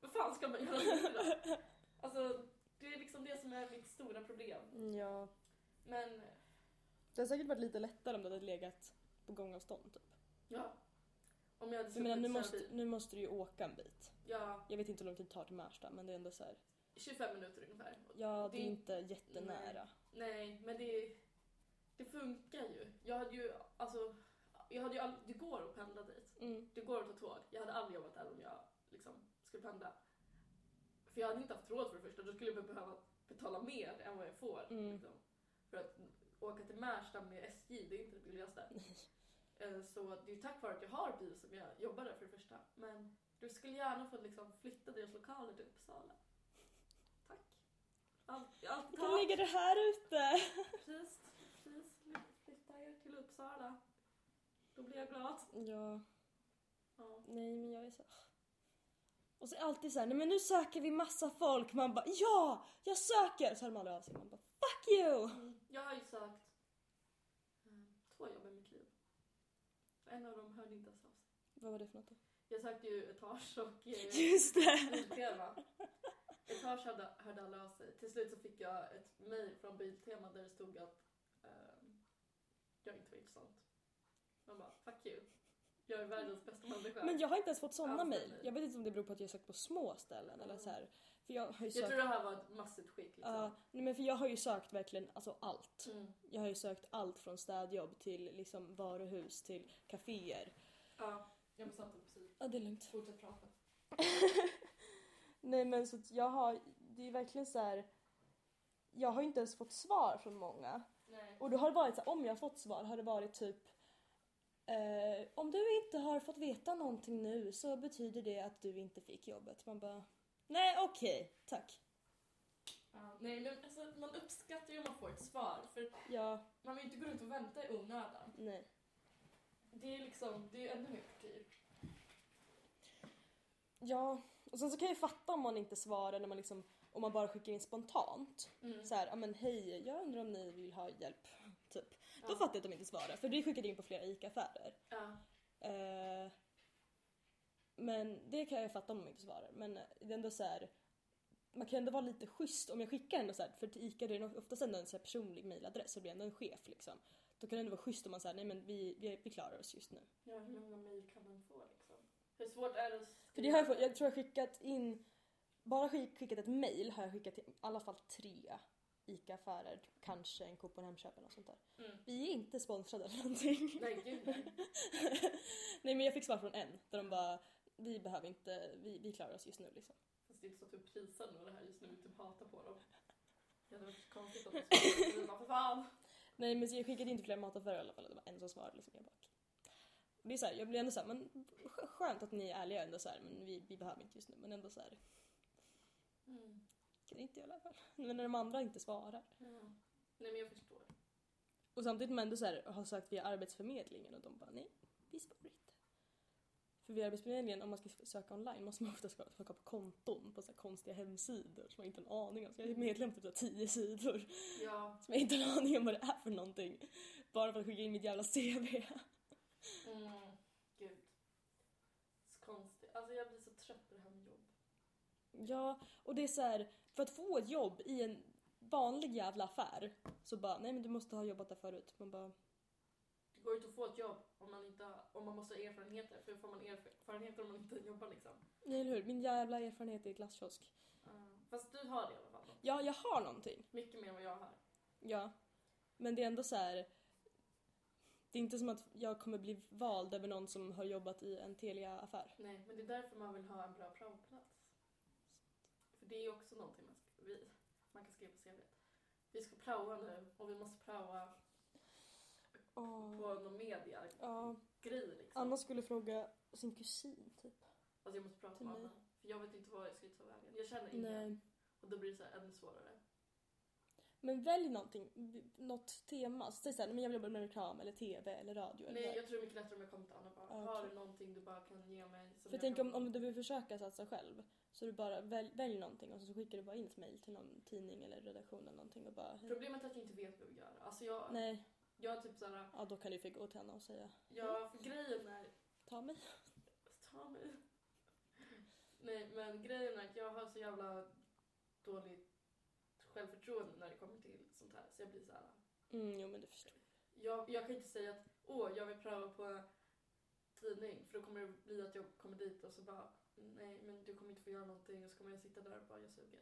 vad fan ska man göra nu då? Alltså det är liksom det som är mitt stora problem.
Mm, Ja.
Men
Det har säkert varit lite lättare om du hade legat på gångavstånd typ.
Ja. Om jag hade
Jag menar, nu,
suttit
måste,
bil.
nu måste du ju åka en bit.
Ja,
Jag vet inte hur lång tid det tar till Märsta men det är ändå så här.
25 minuter ungefär.
Ja, det är
Det-
inte jättenära.
Nej, men det, det funkar ju. Jag hade ju, alltså, jag hade ju all, det går att pendla dit.
Mm.
Det går att ta tåg. Jag hade aldrig jobbat där om jag liksom skulle pendla. För jag hade inte haft råd för det första. Då skulle jag behöva betala mer än vad jag får.
Mm.
Liksom. För att åka till Märsta med SJ, det är inte det
[laughs]
billigaste. Eh, Så det är ju tack vare att jag har bil som jag jobbar där för det första. Men du skulle gärna få liksom flytta deras lokaler till Uppsala. Tack. Allt, allt
Du kan
tack.
lägga det här ute!
Please, please, flytta er till Uppsala. Då blir jag glad.
Ja,
Ja.
nej men jag är så... Och så är det alltid såhär, nej men nu söker vi massa folk. Man bara ja, jag söker! Så hör de aldrig av sig. Man bara fuck you!
Jag har ju sökt eh, två jobb i mitt liv. En av dem hörde inte ens av sig.
Vad var det för något då?
Jag sökte ju Etage och eh,
[laughs] Just det!
Biltema. Etage hörde, hörde alla av sig. Till slut så fick jag ett mejl från Biltema där det stod att ehm, jag inte var intressant. Man bara, fuck you. Jag är världens bästa människa.
Men jag har inte ens fått såna
Ja,
mejl.
nej.
Jag vet inte om det beror på att jag sökt på små ställen eller
Mm.
så här. För jag har ju
jag
sökt...
tror det här var ett massutskick. Liksom.
Ja, nej men för jag har ju sökt verkligen alltså allt.
Mm.
Jag har ju sökt allt från städjobb till liksom varuhus till kaféer.
Ja. Jag var satt upp psyk.
Ja, det är lugnt.
Fortsätt prata.
Nej men så att jag har, det är verkligen så här. Jag har ju inte ens fått svar från många.
Nej.
Och då har det varit så här, om jag har fått svar har det varit typ eh, om du inte har fått veta någonting nu så betyder det att du inte fick jobbet. Man bara, nej okej, tack.
Ja, nej, men alltså, man uppskattar ju om man får ett svar. För
Ja,
man vill ju inte gå runt och vänta i onödan.
nej.
Det är liksom, det är ju ännu mer tortyr.
Ja, och sen så kan jag ju fatta om man inte svarar när man liksom, om man bara skickar in spontant.
Mm.
Så här, ja men hej, jag undrar om ni vill ha hjälp. Typ.
ja.
Då fattar jag att de inte svarar, för vi skickade in på flera ICA-affärer.
Ja.
Eh, men det kan jag fatta om de inte svarar. Men det är ändå så här, man kan ändå vara lite schysst om jag skickar ändå så här, för till ICA det är nog oftast ändå en så här personlig mailadress så det blir ändå en chef liksom. Då kan det ändå vara schysst om man säger nej men vi, vi, vi klarar oss just nu.
ja, hur många mejl kan man få liksom? Hur svårt är det att
För det har jag, fått- jag tror jag har skickat in, bara skick- skickat ett mail har jag skickat till i alla fall tre ICA-affärer, kanske en Coop och en Hemköp eller något sånt där.
Mm.
Vi är inte sponsrade eller någonting.
Nej, gud nej.
[laughs] Nej men jag fick svar från en där de bara vi behöver inte, vi, vi klarar oss just nu liksom.
Fast det är inte så att du prisar några det här just nu, du typ hatar på dem. Det hade varit konstigt om du skulle säga för fan.
Nej men så jag skickade inte flera mataffärer i alla fall, det var en som svarade liksom. Jag bara, okej. Och det är så här, jag blir ändå såhär, men skö- skönt att ni är ärliga ändå såhär, men vi, vi behöver inte just nu. Men ändå såhär,
Mm.
kan inte jag i alla fall. [laughs] Men när de andra inte svarar.
Ja. Nej men jag förstår.
Och samtidigt man ändå så här, har sökt via Arbetsförmedlingen och de bara nej, vi svarar inte. För via Arbetsförmedlingen, om man ska söka online, måste man ofta ska- söka på konton på så här konstiga hemsidor som man inte har en aning om. Så jag är medlem på typ så här tio sidor
Ja.
som jag inte har en aning om vad det är för någonting. Bara för att skicka in mitt jävla CV.
Mm. Gud. Så konstigt. Alltså jag blir så trött på det här med jobb.
Ja, och det är så här, för att få ett jobb i en vanlig jävla affär så bara nej men du måste ha jobbat där förut. Man bara
Det går ju inte att få ett jobb om man, inte, har- om man måste ha erfarenheter. För hur får man erfarenheter om man inte jobbar liksom?
nej eller hur, min jävla erfarenhet är glasskiosk.
Ja. Fast du har det i alla fall. då.
Ja, jag har någonting.
Mycket mer än vad jag har.
Ja. Men det är ändå så här. Det är inte som att jag kommer bli vald över någon som har jobbat i en Telia-affär.
Nej, men det är därför man vill ha en bra praoplats. För det är ju också någonting man, ska, vi, man kan skriva på CV. Vi ska praoa nu och vi måste praoa på någon media
Ja,
grej liksom.
Anna skulle fråga sin kusin typ.
Alltså jag måste prata
Till
med
mig.
Anna. För jag vet inte vad jag ska ta vägen. Jag känner ingen.
Nej.
Och då blir det så här ännu svårare.
Men välj någonting, något tema. Så säg såhär, men jag vill jobba med reklam eller TV eller radio eller
Nej,
Nej,
jag tror det är mycket lättare om jag kommer till Anna och bara,
Ja,
har
okej.
du någonting du bara kan ge mig? som
För
jag
tänk
kan-
om, om du vill försöka satsa själv. Så du bara välj, välj någonting och så skickar du bara in ett mail till någon tidning eller redaktion eller någonting och bara hej.
Problemet är att jag inte vet vad jag vill göra. Alltså jag,
Nej,
jag är typ såhär,
ja då kan du ju gå till henne och säga
jag, för grejen är
ta mig.
Ta mig. Nej, men grejen är att jag har så jävla dåligt självförtroende när det kommer till sånt här. Så jag blir så här.
Mm, jo men du förstår.
Jag, jag kan inte säga att åh, jag vill pröva på en tidning för då kommer det bli att jag kommer dit och så bara nej, men du kommer inte få göra någonting och så kommer jag sitta där och bara jag suger.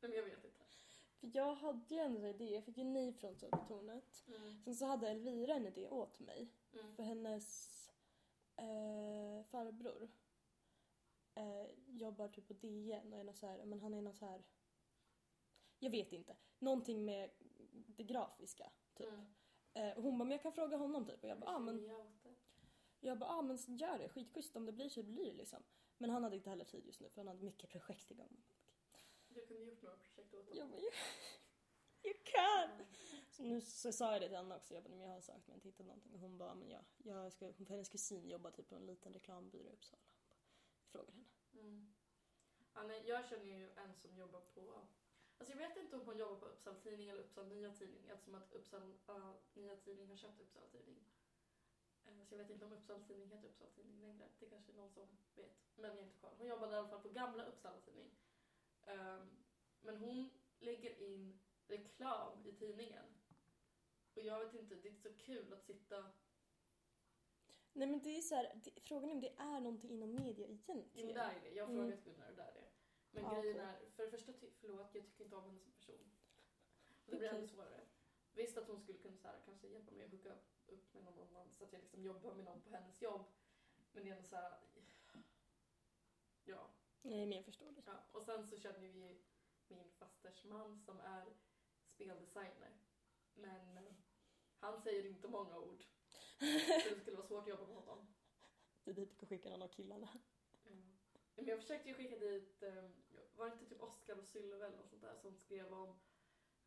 Nej, men jag vet inte.
För jag hade ju ändå en idé, jag fick ju nej från Södertornet. Sen så hade Elvira en idé åt mig.
Mm.
För hennes eh, farbror eh, jobbar typ på DN och är någon så här, men han är någon så här. Jag vet inte. Någonting med det grafiska. Typ.
Mm.
Eh, och hon bara, men jag kan fråga honom typ. Och jag bara, ah, men,
Jag åt det.
jag bara, ah, men gör det. Skitschysst om det blir så blir det liksom. Men han hade inte heller tid just nu för han hade mycket projekt igång.
Du kunde gjort några projekt åt
Jag bara, you, [laughs] you can! Så nu så sa jag det till Anna också, jag bara, men jag har sökt men inte hittat någonting. Och hon bara, men jag, jag ska, hon- hennes kusin jobbar typ på en liten reklambyrå i Uppsala. Jag frågade henne.
Mm. Ja, nej, jag känner ju en som jobbar på... Alltså jag vet inte om hon jobbar på Uppsala Tidning eller Uppsala Nya Tidning eftersom att Uppsala ja, Nya Tidning har köpt Uppsala Tidning. Eh, Så jag vet inte om Uppsala Tidning heter Uppsala Tidning längre. Det kanske är någon som vet. Men jag har inte koll. Hon jobbade i alla fall på gamla Uppsala Tidning. Ehm, men hon lägger in reklam i tidningen. Och jag vet inte, det är inte så kul att sitta...
Nej men det är så här, det, frågan är om det är någonting inom media
Jo,
egentligen.
där är det. Jag har
Mm.
frågat Gunnar och där är det. Men
Ja,
grejen
okej.
är, för det första, ty- förlåt, jag tycker inte om henne som person. Och det blir
Okej.
ännu svårare. Visst att hon skulle kunna så här, kanske hjälpa mig att hooka upp med någon annan så att jag liksom jobbar med någon på hennes jobb. Men det är ändå så här... Ja.
Nej men jag förstår det.
ja. Och sen så känner vi ju min fasters man som är speldesigner. Men eh, han säger inte många ord. Så det skulle vara svårt att jobba med honom.
Det är dit du kan skicka någon av killarna.
Mm. Men jag försökte ju skicka dit ehm, var det inte typ Oscar och Sylve eller något sånt där som skrev om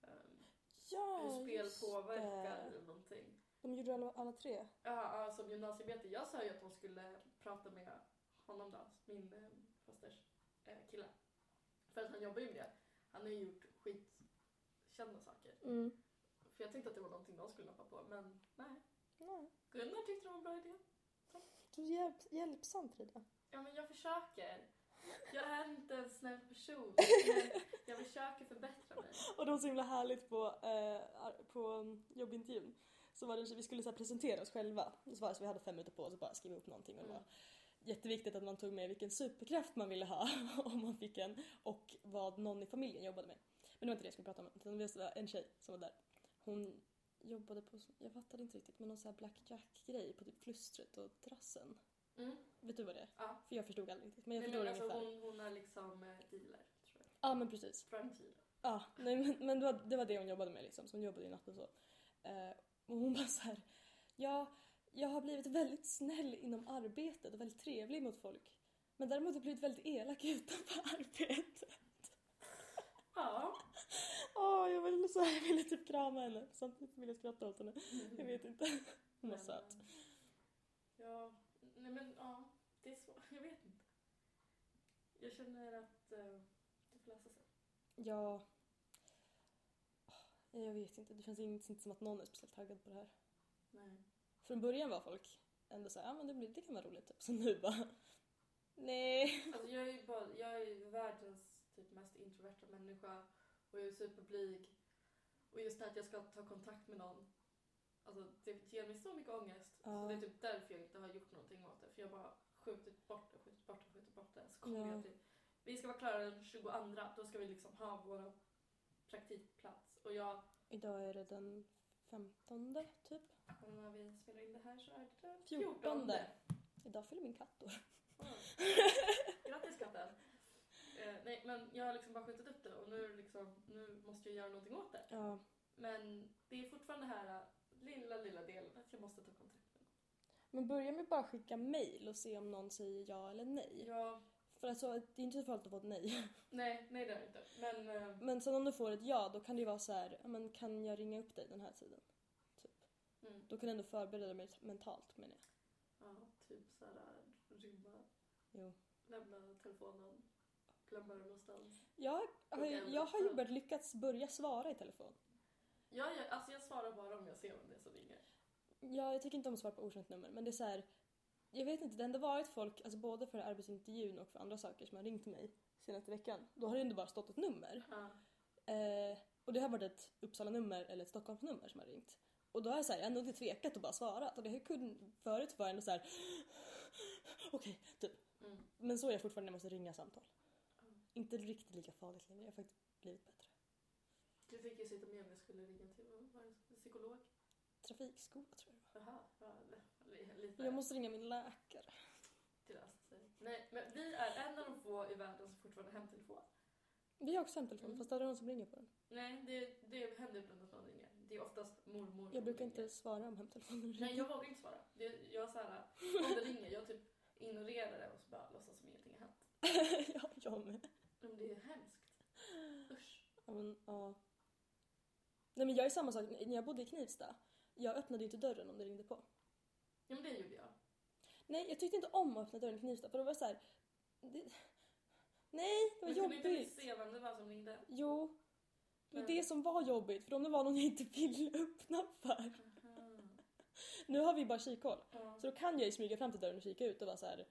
ehm,
Ja,
hur spel
just
påverkar
det.
i någonting?
De gjorde alla, alla tre.
Ja, ja, som gymnasiearbete. Jag sa ju att hon skulle prata med honom då, min eh, fasters eh, kille. För att han jobbar ju med det. Han har ju gjort skitkända saker.
Mm.
För jag tänkte att det var någonting de skulle nappa på, men nej.
Nej.
Gunnar tyckte det var en bra idé.
Du är hjälp, hjälpsam Frida.
Ja, men jag försöker. Jag är inte en snäll person. Jag försöker förbättra mig.
Och det var så himla härligt på, eh, ar- på um, jobbintervjun. Så var det, en tjej- vi skulle så här presentera oss själva. Så var det, så vi hade fem minuter på oss att bara skriva upp någonting. Och det var
Mm.
jätteviktigt att man tog med vilken superkraft man ville ha [laughs] om man fick en och vad någon i familjen jobbade med. Men det var inte det jag skulle prata om. Utan det var en tjej som var där. Hon jobbade på, jag fattade inte riktigt, men någon sån här blackjack-grej på typ flustret och terrassen.
Mm.
Vet du vad det är?
Ja.
För jag förstod aldrig riktigt. Men jag
Nej,
förstod
men alltså,
ungefär.
hon, hon är liksom eh, dealer, tror jag.
Ja men precis.
Franchise.
Ja, nej, men, men det, var, det var det hon jobbade med liksom. Så hon jobbade i natt och så. Eh, och hon bara så här, ja, jag har blivit väldigt snäll inom arbetet och väldigt trevlig mot folk. Men däremot har jag blivit väldigt elak utanför [laughs] arbetet. [laughs]
Ja.
Åh, jag ville så här, jag ville typ krama henne. Samtidigt ville jag skratta åt henne. Jag vet inte. Hon var
Men,
söt.
eh, Ja, nej men ja. Det är svårt. Jag vet inte. Jag känner att eh, det får lösa sig.
Ja. Åh, Jag vet inte, det känns inte inte som att någon är speciellt taggad på det här.
Nej.
Från början var folk ändå såhär, ja men det, blir, det kan vara roligt typ. Så nu bara, nej.
Alltså jag är ju bara, jag är ju världens typ mest introverta människa och jag är superblyg. Och just det här att jag ska ta kontakt med någon, alltså det ger mig så mycket ångest.
Ja.
Så det är typ därför jag inte har gjort någonting åt det. För jag bara skjutit bort det, skjutit bort det, skjutit bort det. Så kommer
Ja.
jag till, vi ska vara klara den 22, då ska vi liksom ha vår praktikplats. Och jag,
Idag är det den 15 typ.
och när vi spelar in det här så är det den
14.
14.
Idag fyller min katt år.
Mm.
[laughs]
Grattis katten! Eh, nej men jag har liksom bara skjutit upp det och nu, är det liksom, nu måste jag göra någonting åt det.
Ja.
Men det är fortfarande det här eh, lilla, lilla delen att jag måste ta kontakt med någon.
Men börja med att bara skicka mejl och se om någon säger ja eller nej.
Ja,
För alltså, det är inte så farligt att få ett nej.
nej, nej det har jag inte. Men eh,
Men sen om du får ett ja, då kan det ju vara så här, "Ja, men kan jag ringa upp dig den här tiden?
mm,
Då kan du ändå förbereda dig mentalt menar jag.
ja, typ såhär rymma,
Jo.
lämna telefonen, glömma den någonstans.
Jag har, ju-
Okej,
jag har ju
men-
börjat lyckats börja svara i telefon.
Ja, jag, alltså jag svarar bara om jag ser vem det är som ringer.
Ja, jag tycker inte om att svara på okänt nummer, men det är så här. Jag vet inte, det har ändå varit folk, alltså både för arbetsintervjun och för andra saker som har ringt mig senaste veckan. Då har det ändå bara stått ett nummer.
Ja,
Eh, och det har varit ett Uppsala-nummer eller ett Stockholmsnummer som har ringt. Och då har jag, så här, jag har ändå inte tvekat och bara svarat. Och det har jag kun, förut var jag ändå så här. [gasps] okej, typ.
mm.
Men så är jag fortfarande när jag måste ringa samtal.
Mm.
Inte riktigt lika farligt längre, jag har faktiskt blivit bättre.
Du fick ju sitta med om jag skulle ringa till vad var det, psykolog.
Trafikskola tror jag det
Jaha, ja, li- lite.
var. Jag måste ringa min läkare.
Det löste sig. Nej, men vi är en av de få i världen som fortfarande har hemtelefon.
Vi har också hemtelefon,
Mm.
fast det är någon som ringer på den.
Nej, det, det händer ibland att någon ringer. Det är oftast mormor.
Jag
som
brukar
ringer.
inte svara om hemtelefonen
Mm. Nej,
ringer.
jag vågar inte svara. Det, jag så här, om det ringer, jag typ ignorerar det och så bara låtsas som ingenting har hänt.
[laughs] ja, jag med.
Men det är hemskt. Usch.
Ja, men, ja. Nej men jag är samma sak, när jag bodde i Knivsta, jag öppnade ju inte dörren om det ringde på.
Ja, men det gjorde jag.
Nej, jag tyckte inte om att öppna dörren i Knivsta för det var så här. Det... Nej, det var
Men kunde inte ni
jobbigt.
se vem det var som ringde?
Jo. Det var
Nej.
det som var jobbigt, för om det var någon jag inte ville [laughs] öppna för.
Aha.
Nu har vi bara kikhål,
Ja.
så då kan jag ju smyga fram till dörren och kika ut och vara så här.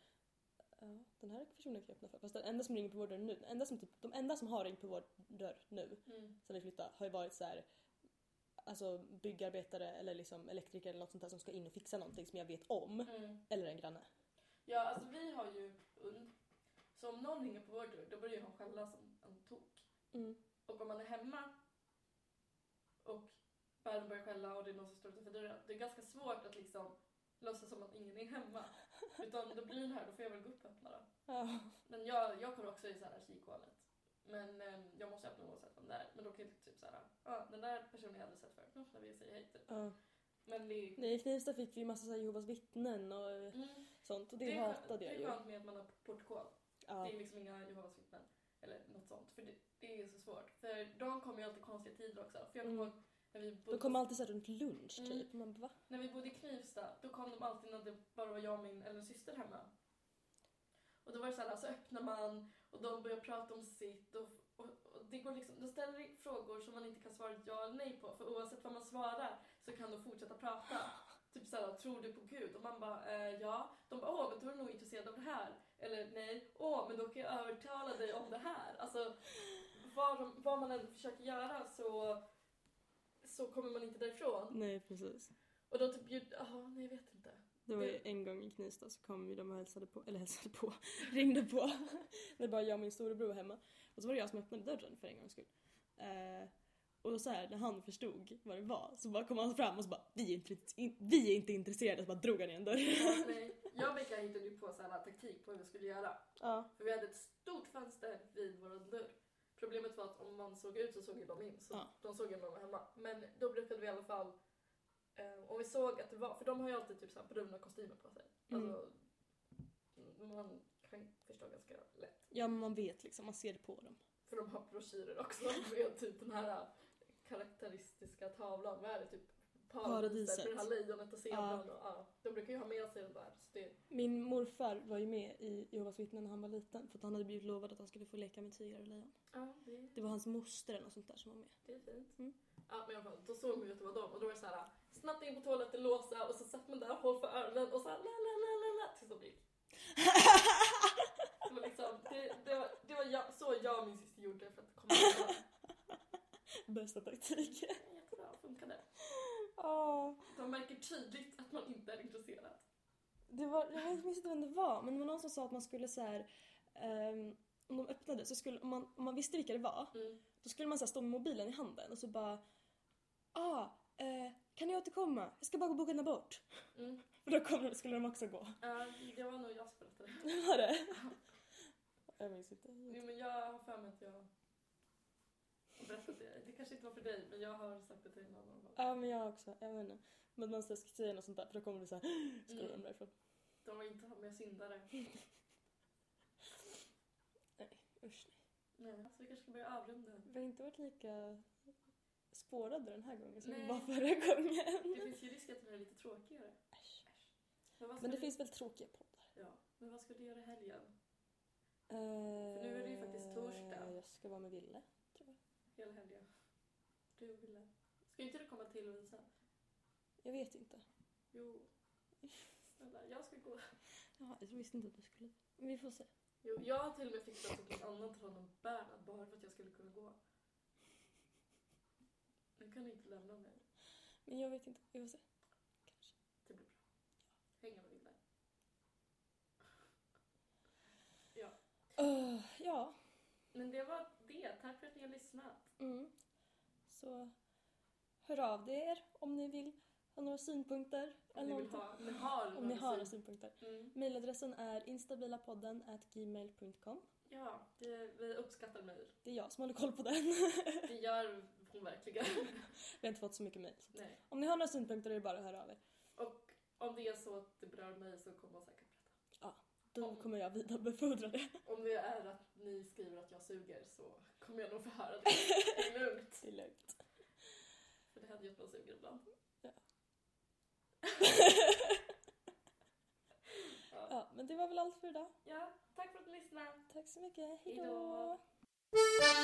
Ja, den här personen kan jag öppna för. Fast den enda som ringer på vår dörr nu, den enda som typ, de enda som har ringt på vår dörr nu
Mm.
sen vi flyttade har ju varit så här. Alltså byggarbetare eller liksom elektriker eller något sånt där som ska in och fixa någonting som jag vet om.
Mm.
Eller en granne.
Ja, alltså vi har ju hund. Så om någon ringer på vår dörr, då börjar hon skälla som en tok.
Mm.
Och om man är hemma och världen börjar skälla och det är någon som står utanför dörren, det är ganska svårt att liksom låtsas som att ingen är
[laughs]
hemma. Utan då blir den här, då får jag väl gå upp och öppna då.
Ja.
Men jag, jag kommer också i så här kikhålet. Men ehm, jag måste öppna oavsett vem det är. Men då kan jag typ såhär, ah, den där personen jag aldrig sett förut, nu öppnar vi och säger hej typ.
Ja.
Men det är...
Nej, i Knivsta fick vi massa så här Jehovas vittnen och
Mm,
sånt och det,
är skönt-
hatade jag
Det
ju.
är skönt med att man har portkod.
Ja.
Det är liksom inga Jehovas vittnen. Eller något sånt. För det, det är så svårt. För de kommer ju alltid konstiga tider också. För jag kommer
Mm.
ihåg när vi bodde
De kommer alltid så här runt lunch
Mm.
typ. Man bara, va?
När vi bodde i Knivsta, då kom de alltid när det bara var jag och min eller en syster hemma. Och då var det så här, så öppnar man och de börjar prata om sitt och, och, och det går liksom, de ställer frågor som man inte kan svara ja eller nej på för oavsett vad man svarar så kan de fortsätta prata. Typ såhär, tror du på Gud? Och man bara, eh, ja. De bara, åh men då är du nog intresserad av det här. Eller nej, åh men då kan jag övertala dig om det här. Alltså, vad, de, vad man än försöker göra så, så kommer man inte därifrån.
Nej precis.
Och då typ bjud... Ja, nej jag vet inte.
Det var ju en gång i Knivsta så kom ju de och hälsade på, eller hälsade på, [laughs] ringde på. När bara jag och min storebror var hemma. Och så var det jag som öppnade dörren för en gångs skull. Eh, och då så här, när han förstod vad det var så bara kom han fram och så bara vi är inte, in, vi är inte intresserade så bara drog han igen dörren.
Ja, nej. Jag och Becka hittade ju på så här taktik på hur vi skulle göra.
ja.
För vi hade ett stort fönster vid vår dörr. Problemet var att om man såg ut så såg ju de in. Så
Ja.
de såg ju om de var hemma. Men då brukade vi i alla fall... Eh, om vi såg att det var... För de har ju alltid typ så här bruna kostymer på sig.
Mm.
Alltså, man kan förstå ganska lätt.
ja men man vet liksom, man ser det på dem.
För de har broschyrer också med typ den här karaktäristiska tavlan. Vad är det? Typ paradiset.
Paradiset.
Med det här lejonet och
Ja.
zebran. Och, ja. De brukar ju ha med sig den där. Så det,
Min morfar var ju med i Jehovas vittnen när han var liten för att han hade blivit lovad att han skulle få leka med tigrar och lejon.
ja, det,
Det var hans moster eller något sånt där som var med.
det är fint.
Mm.
Ja, men i alla fall, då såg man ju att det var dem. Och då var det så här snabbt in på toaletten, låsa och så satt man där och höll för öronen och så här la la la la la tills de gick.
[laughs]
Det var liksom, det, det var, det var jag, så jag och min syster gjorde för
[laughs]
att komma ihåg.
Bästa taktiken. [laughs]
Jag tror det funkade.
Åh.
De märker tydligt att man inte är intresserad.
Det var, jag minns inte vem det var, men det var någon som sa att man skulle så här, ehm, om de öppnade så skulle, om man, om man visste vilka det var,
Mm.
då skulle man så här stå med mobilen i handen och så bara ah, eh, kan ni återkomma? Jag ska bara gå och boka en abort.
Mm.
För då kommer, de- skulle de också gå. [laughs]
Ja, det var nog jag som berättade.
Var det? Jag minns inte.
Jo, men jag har för mig att jag har berättat det. Det kanske inte var för dig, men jag har sagt det till någon annan gång.
Ja men jag också, jag vet inte. Men man ska säga något sånt där för då kommer det så här skruva
Mm.
mm. därifrån.
De har inte haft med syndare.
Usch.
Nej. Så vi kanske ska börja avrunda.
Vi har inte varit lika spårade den här gången som vi
Nej.
var förra
Det
gången.
finns ju risk att det här är lite tråkigare.
Äsch.
Men vad ska,
Men det
du,
finns väl tråkiga poddar?
ja. men vad ska du göra i helgen?
nu
är det ju faktiskt torsdag.
Eh, Jag ska vara med Ville.
Hela helgen? Du ville... Ska inte du komma till Lovisa?
Jag vet inte.
Jo. Snälla, jag ska gå.
Jaha, jag visste inte att du skulle. Men vi får se.
Jo, jag har till och med fixat till en annan Trondheim Bernhard bara för att jag skulle kunna gå. Nu kan du inte lämna mig.
Men jag vet inte. Vi får se. Kanske.
Det blir bra. Hänga med Vilda. Ja.
Öh, ja.
Men det var det. Tack för att ni har lyssnat.
Mm. Så hör av er om ni vill ha några synpunkter.
Om ni vill ha, ni har
om ni har några
något
synpunkter.
mm.
Mailadressen är instabilapodden gmail.com.
Ja, det, vi uppskattar mejl.
Det är jag som håller koll på den. [laughs]
Det gör hon verkligen.
vi har inte fått så mycket mejl.
Nej.
Om ni har några synpunkter är det bara att höra av er.
Och om det är så att det berör mig så kommer hon säkert berätta.
Då
Om-
kommer jag vidarebefordra det.
Om det är att ni skriver att jag suger så kommer jag nog få höra det. Det är lugnt.
Det är lugnt.
För det händer ju att man suger ibland.
Ja.
ja.
Ja, men det var väl allt för idag.
ja, tack för att ni lyssnade.
Tack så mycket.
Hej då.
Hej då.